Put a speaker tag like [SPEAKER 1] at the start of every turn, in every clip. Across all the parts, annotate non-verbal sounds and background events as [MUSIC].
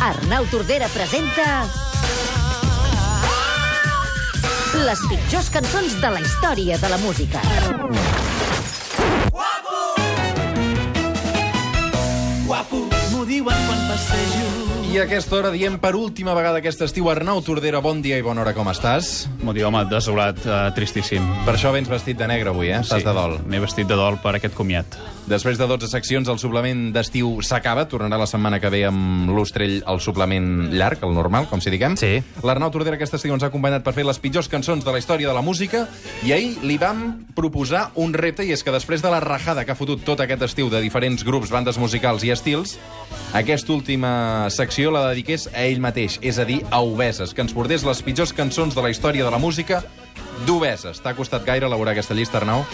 [SPEAKER 1] Arnau Tordera presenta... Les pitjors cançons de la història de la música.
[SPEAKER 2] M'ho diuen quan passejo.
[SPEAKER 3] I a aquesta hora diem per última vegada aquest estiu Arnau Tordera, bon dia i bona hora, com estàs?
[SPEAKER 4] M'ho diu, home, desolat, eh, tristíssim.
[SPEAKER 3] Per això vens vestit de negre avui, eh? Estàs de dol.
[SPEAKER 4] M'he vestit de dol per aquest comiat.
[SPEAKER 3] Després de 12 seccions, el suplement d'estiu s'acaba. Tornarà la setmana que ve amb l'Ostrell al suplement llarg, el normal, com si diguem.
[SPEAKER 4] Sí.
[SPEAKER 3] L'Arnau Tordera aquest estiu ens ha acompanyat per fer les pitjors cançons de la història de la música i ahir li vam proposar un repte i és que després de la rajada que ha fotut tot aquest estiu de diferents grups, bandes musicals i estils, aquesta última secció la dediqués a ell mateix, és a dir, a Obeses, que ens portés les pitjors cançons de la història de la música d'Obeses. T'ha costat gaire elaborar aquesta llista, Arnau?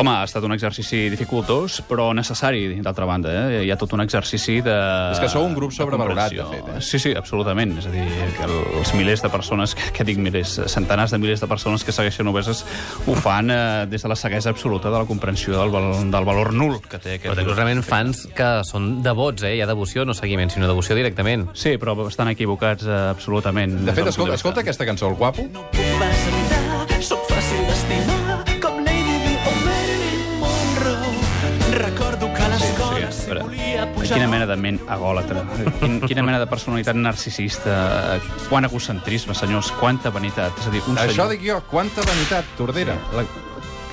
[SPEAKER 4] Home, ha estat un exercici dificultós, però necessari, d'altra banda. Eh? Hi ha tot un exercici de...
[SPEAKER 3] És que sou un grup
[SPEAKER 4] de
[SPEAKER 3] sobrevalorat,
[SPEAKER 4] comprensió.
[SPEAKER 3] de fet, eh?
[SPEAKER 4] Sí, sí, absolutament. És a dir, que els milers de persones, que, que dic milers, centenars de milers de persones que segueixen obeses ho fan eh, des de la ceguesa absoluta de la comprensió del, val del valor nul que té aquest
[SPEAKER 5] Però té
[SPEAKER 4] grup.
[SPEAKER 5] clarament fans que són devots, eh? Hi ha devoció, no seguiment, sinó devoció directament.
[SPEAKER 4] Sí, però estan equivocats eh, absolutament.
[SPEAKER 3] De
[SPEAKER 4] Des del
[SPEAKER 3] fet,
[SPEAKER 4] punt
[SPEAKER 3] escolta,
[SPEAKER 4] vista.
[SPEAKER 3] escolta aquesta cançó, El Guapo.
[SPEAKER 2] No puc pas evitar, sóc fàcil d'estimar, com Lady Di o Marilyn Monroe. Recordo que a
[SPEAKER 4] Sí,
[SPEAKER 2] l'escola
[SPEAKER 4] a
[SPEAKER 2] sí,
[SPEAKER 4] veure,
[SPEAKER 2] volia pujar...
[SPEAKER 4] Quina mena de ment agòlatra, quin, quina mena de personalitat narcisista, quant egocentrisme, senyors, quanta vanitat. És a dir, un
[SPEAKER 3] Això
[SPEAKER 4] senyor
[SPEAKER 3] dic jo, quanta vanitat, Tordera.
[SPEAKER 4] la,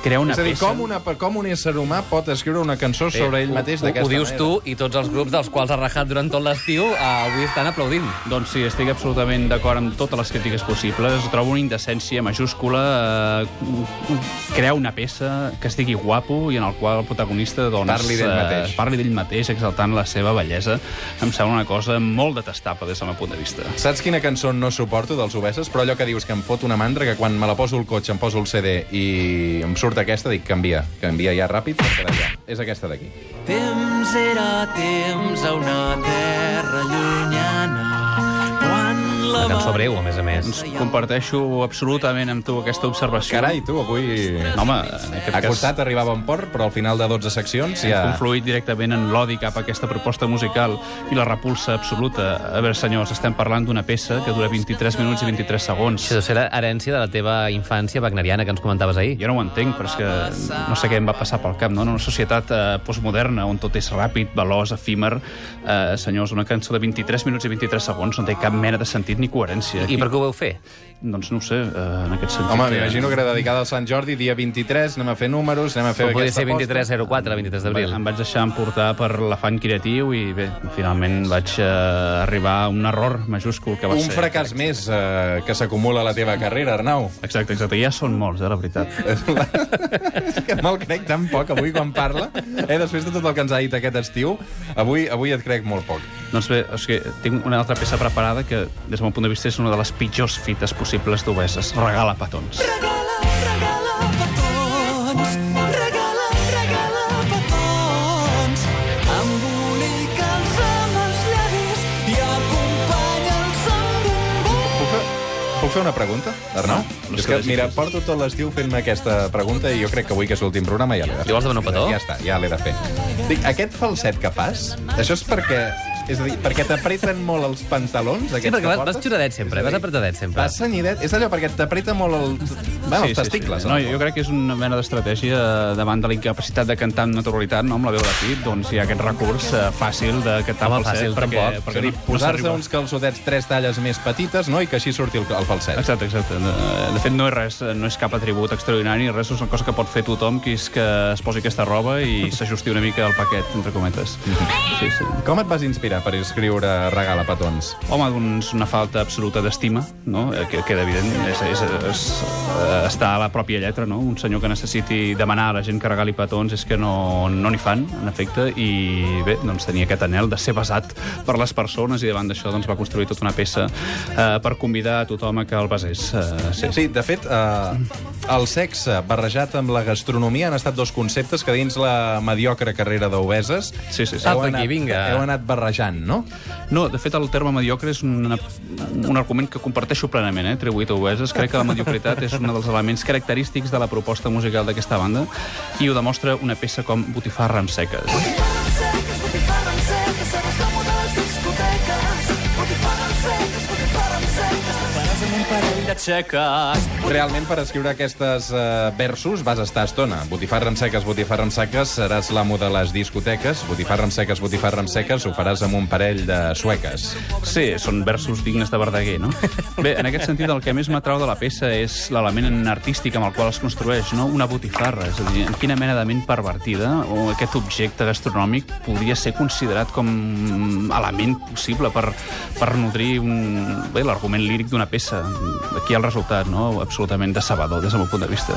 [SPEAKER 4] crea una
[SPEAKER 3] És a dir,
[SPEAKER 4] peça...
[SPEAKER 3] com, una, com un ésser humà pot escriure una cançó sobre ell mateix
[SPEAKER 5] Ho, ho
[SPEAKER 3] d'aquesta
[SPEAKER 5] dius tu i tots els grups dels quals has rajat durant tot l'estiu eh, avui estan aplaudint.
[SPEAKER 4] Doncs sí, estic absolutament d'acord amb totes les crítiques possibles. Trobo una indecència majúscula, eh, crear una peça que es digui guapo i en el qual el protagonista doncs,
[SPEAKER 3] Parli d'ell
[SPEAKER 4] eh,
[SPEAKER 3] mateix.
[SPEAKER 4] parli d'ell mateix, exaltant la seva bellesa. Em sembla una cosa molt detestable des del meu punt de vista.
[SPEAKER 3] Saps quina cançó no suporto dels obeses? Però allò que dius que em fot una mandra, que quan me la poso al cotxe em poso el CD i em surt aquesta, dic canvia, canvia ja ràpid, perquè ja. és aquesta d'aquí.
[SPEAKER 2] Temps era temps a una terra llunyana quan la,
[SPEAKER 5] Una cançó
[SPEAKER 2] va-
[SPEAKER 5] breu, a més a més.
[SPEAKER 4] Doncs- Comparteixo absolutament amb tu aquesta observació.
[SPEAKER 3] Carai, tu, avui...
[SPEAKER 4] No, Home, en aquest
[SPEAKER 3] Ha
[SPEAKER 4] cas
[SPEAKER 3] costat arribar a bon port, però al final de 12 seccions
[SPEAKER 4] ja.
[SPEAKER 3] ja...
[SPEAKER 4] confluït directament en l'odi cap a aquesta proposta musical i la repulsa absoluta. A veure, senyors, estem parlant d'una peça que dura 23 minuts i 23 segons.
[SPEAKER 5] Això deu ser herència de la teva infància wagneriana que ens comentaves ahir.
[SPEAKER 4] Jo no ho entenc, però és que no sé què em va passar pel cap, no? En una societat eh, postmoderna on tot és ràpid, veloç, efímer... Eh, senyors, una cançó de 23 minuts i 23 segons no té cap mena de sentit ni coherència.
[SPEAKER 5] I per què ho vau fer?
[SPEAKER 4] Doncs no ho sé, eh, en aquest sentit...
[SPEAKER 3] Home,
[SPEAKER 4] eh,
[SPEAKER 3] m'imagino que era dedicada al Sant Jordi, dia 23, anem a fer números, anem a fer
[SPEAKER 5] Com podria
[SPEAKER 3] aquesta
[SPEAKER 5] ser
[SPEAKER 3] aposta.
[SPEAKER 5] 2304, 23 d'abril?
[SPEAKER 4] Em vaig deixar emportar per l'afany creatiu i bé, finalment vaig eh, arribar a un error majúscul que va
[SPEAKER 3] Un
[SPEAKER 4] ser...
[SPEAKER 3] fracàs més eh, que s'acumula a la teva carrera, Arnau.
[SPEAKER 4] Exacte, exacte. Ja són molts, eh, la veritat.
[SPEAKER 3] És que me'l crec tan poc avui quan parla. Eh, després de tot el que ens ha dit aquest estiu, avui avui et crec molt poc.
[SPEAKER 4] Doncs bé, és que tinc una altra peça preparada que, des del meu punt de vista, és una de les pitjors fites possibles d'obeses. Regala petons.
[SPEAKER 2] Regala, regala petons, regala, regala petons. Embonica'ls amb els llavis i acompanya'ls amb un bon
[SPEAKER 3] Puc fer, puc fer una pregunta, Arnau?
[SPEAKER 4] No,
[SPEAKER 3] és que,
[SPEAKER 4] no sé
[SPEAKER 3] mira,
[SPEAKER 4] si-
[SPEAKER 3] porto tot l'estiu fent-me aquesta pregunta i jo crec que avui, que és l'últim programa, ja l'he de fer.
[SPEAKER 5] I vols demanar un petó?
[SPEAKER 3] Ja està, ja l'he de fer. Dic, aquest falset que fas, això és perquè... És a dir, perquè t'apreten molt els pantalons, aquests
[SPEAKER 5] Sí, perquè
[SPEAKER 3] que
[SPEAKER 5] vas,
[SPEAKER 3] portes?
[SPEAKER 5] vas xuradet sempre,
[SPEAKER 3] És a
[SPEAKER 5] vas
[SPEAKER 3] dir,
[SPEAKER 5] apretadet sempre.
[SPEAKER 3] Vas senyidet, és allò, perquè t'apreta molt el... Bueno, els testicles. eh?
[SPEAKER 4] Sí, sí. No, jo crec que és una mena d'estratègia eh, davant de la incapacitat de cantar amb naturalitat, no amb la veu de pit, doncs hi ha aquest recurs eh, fàcil de cantar
[SPEAKER 5] Home,
[SPEAKER 4] amb falset,
[SPEAKER 5] fàcil,
[SPEAKER 4] perquè,
[SPEAKER 5] tampoc.
[SPEAKER 3] Perquè
[SPEAKER 4] perquè
[SPEAKER 3] dir,
[SPEAKER 4] no, no
[SPEAKER 3] posar-se
[SPEAKER 4] s'arriba.
[SPEAKER 3] uns calçotets tres talles més petites, no?, i que així surti el, el falset.
[SPEAKER 4] Exacte, exacte. Eh, De fet, no és res, eh, no és cap atribut extraordinari, res és una cosa que pot fer tothom, que és que es posi aquesta roba i s'ajusti una mica al paquet, entre cometes. Sí, sí.
[SPEAKER 3] Com et vas inspirar per escriure Regala Petons?
[SPEAKER 4] Home, doncs una falta absoluta d'estima, no? Eh, que, que evident, és, és, és, eh, està a la pròpia lletra, no? Un senyor que necessiti demanar a la gent que regali petons és que no no n'hi fan, en efecte, i bé, doncs tenia aquest anel de ser basat per les persones i davant d'això doncs va construir tota una peça eh, per convidar a tothom a que el basés. Eh, sí.
[SPEAKER 3] Sí, de fet, eh, el sexe barrejat amb la gastronomia han estat dos conceptes que dins la mediocre carrera d'Obeses
[SPEAKER 4] Sí, sí, sí.
[SPEAKER 3] heu,
[SPEAKER 5] Apa,
[SPEAKER 3] anat-
[SPEAKER 5] aquí, vinga.
[SPEAKER 3] heu anat barrejant, no?
[SPEAKER 4] No, de fet, el terme mediocre és un, un argument que comparteixo plenament, eh, atribuït a Obeses. Crec que la mediocritat és un dels elements característics de la proposta musical d'aquesta banda i ho demostra una peça com Botifarra amb seques.
[SPEAKER 2] Botifarra amb seques, botifarra amb seques, a les còmodes discoteques.
[SPEAKER 4] t'aixeques.
[SPEAKER 3] Realment, per escriure aquestes uh, versos vas estar estona. Botifarra amb seques, botifarra amb seques, seràs l'amo de les discoteques. Botifarra amb seques, botifarra amb seques, ho faràs amb un parell de sueques.
[SPEAKER 4] Sí, són versos dignes de Verdaguer, [LAUGHS] no? Bé, en aquest sentit, el que més m'atrau de la peça és l'element artístic amb el qual es construeix, no? Una botifarra, és a dir, en quina mena de ment pervertida o aquest objecte gastronòmic podria ser considerat com mm, element possible per, per nodrir un... bé, l'argument líric d'una peça. Aquí el resultat, no? Absolutament decebedor, des del meu punt de vista.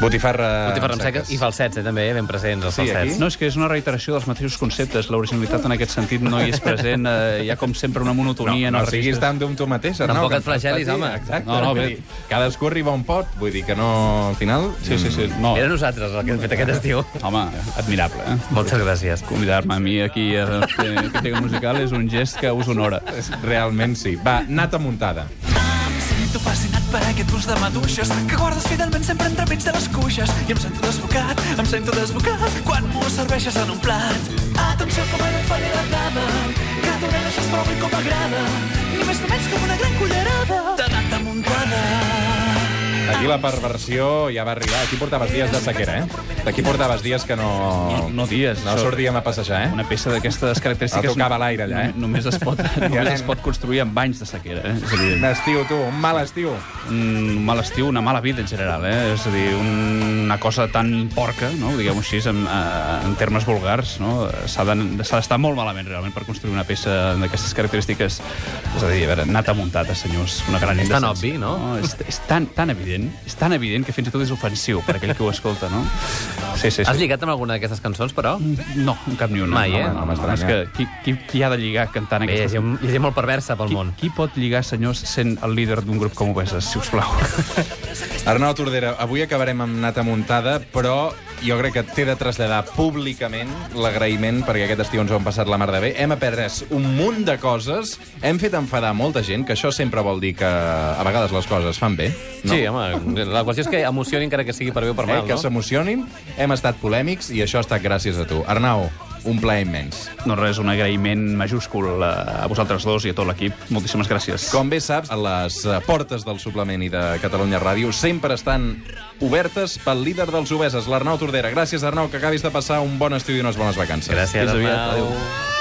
[SPEAKER 3] Botifarra,
[SPEAKER 5] Botifarra amb seques i falsets, eh, també, ben presents, els
[SPEAKER 3] Sí, aquí.
[SPEAKER 5] falsets.
[SPEAKER 4] No, és que és una reiteració dels mateixos conceptes. L'originalitat en aquest sentit no hi és present. Eh, hi ha com sempre una
[SPEAKER 3] No,
[SPEAKER 4] monotonia.
[SPEAKER 3] no,
[SPEAKER 4] en els
[SPEAKER 3] siguis
[SPEAKER 4] registres.
[SPEAKER 3] tan d'un tu mateix, Arnau.
[SPEAKER 5] Tampoc
[SPEAKER 3] que
[SPEAKER 5] et
[SPEAKER 3] fas
[SPEAKER 5] flagelis,
[SPEAKER 3] patir.
[SPEAKER 5] home.
[SPEAKER 3] Exacte.
[SPEAKER 4] No, no,
[SPEAKER 3] vull
[SPEAKER 4] bé.
[SPEAKER 3] dir, Cadascú arriba on pot, vull dir que no... Al final...
[SPEAKER 4] Sí, sí, sí. No.
[SPEAKER 5] Era nosaltres el que hem fet aquest estiu.
[SPEAKER 4] Home, admirable, eh?
[SPEAKER 5] Moltes gràcies.
[SPEAKER 4] Convidar-me a mi aquí a fer crítica musical és un gest que us honora.
[SPEAKER 3] mm, Realment sí. Va, nata muntada.
[SPEAKER 2] Em sento fascinat per aquest gust de maduixes que guardes fidelment sempre entremig de les cuixes. I em sento desbocat, em sento desbocat quan m'ho serveixes en un plat. Atenció com ara em faré la dama, que tu no saps prou bé com m'agrada. Ni més ni menys com una gran cullerada de nata muntada.
[SPEAKER 3] Aquí la perversió ja va arribar. Aquí portaves dies de sequera, eh? Aquí portaves dies que no...
[SPEAKER 4] No dies.
[SPEAKER 3] No
[SPEAKER 4] això.
[SPEAKER 3] sortíem a passejar, eh?
[SPEAKER 4] Una peça d'aquestes característiques...
[SPEAKER 3] No tocava l'aire, allà, eh?
[SPEAKER 4] no- Només es pot, només
[SPEAKER 3] anem.
[SPEAKER 4] es pot construir amb banys de sequera, eh? És
[SPEAKER 3] Un
[SPEAKER 4] evident.
[SPEAKER 3] estiu, tu, un mal estiu.
[SPEAKER 4] Un mal estiu, una mala vida en general, eh? És a dir, una cosa tan porca, no? diguem-ho així, en, eh, en termes vulgars, no? S'ha de- s'ha d'estar molt malament, realment, per construir una peça d'aquestes característiques. És a dir, a veure, nata muntada, senyors, una gran
[SPEAKER 5] És tan
[SPEAKER 4] indecència.
[SPEAKER 5] obvi, no?
[SPEAKER 4] No, és, és tan, tan evident, és tan evident que fins i tot és ofensiu per aquell que ho escolta, no? Sí, sí,
[SPEAKER 5] Has
[SPEAKER 4] sí.
[SPEAKER 5] lligat amb alguna d'aquestes cançons, però?
[SPEAKER 4] No, en cap ni una.
[SPEAKER 5] Mai, eh?
[SPEAKER 4] No, no, no, és que qui, qui, qui ha de lligar cantant
[SPEAKER 5] Bé, hi ha
[SPEAKER 4] aquestes...
[SPEAKER 5] gent, hi ha gent molt perversa pel
[SPEAKER 4] Qui,
[SPEAKER 5] món.
[SPEAKER 4] qui pot lligar, senyors, sent el líder d'un grup com Obeses, si us plau?
[SPEAKER 3] Arnau Tordera, avui acabarem amb nata muntada, però jo crec que t'he de traslladar públicament l'agraïment perquè aquest estiu ens ho hem passat la mar de bé. Hem après un munt de coses, hem fet enfadar molta gent, que això sempre vol dir que a vegades les coses fan bé, no?
[SPEAKER 5] Sí, home, la qüestió és que emocioni encara que sigui per bé o per
[SPEAKER 3] Eh,
[SPEAKER 5] mal,
[SPEAKER 3] que
[SPEAKER 5] no?
[SPEAKER 3] s'emocionin, hem estat polèmics i això ha estat gràcies a tu. Arnau, un plaer immens.
[SPEAKER 4] No res, un agraïment majúscul a a vosaltres dos i a tot l'equip. Moltíssimes gràcies.
[SPEAKER 3] Com bé saps, a les eh, portes del suplement i de Catalunya Ràdio sempre estan obertes pel líder dels obeses, l'Arnau Tordera. Gràcies, Arnau, que acabis de passar un bon estiu i unes bones vacances.
[SPEAKER 5] Gràcies,
[SPEAKER 4] Fins aviat,
[SPEAKER 5] Arnau.
[SPEAKER 4] adéu.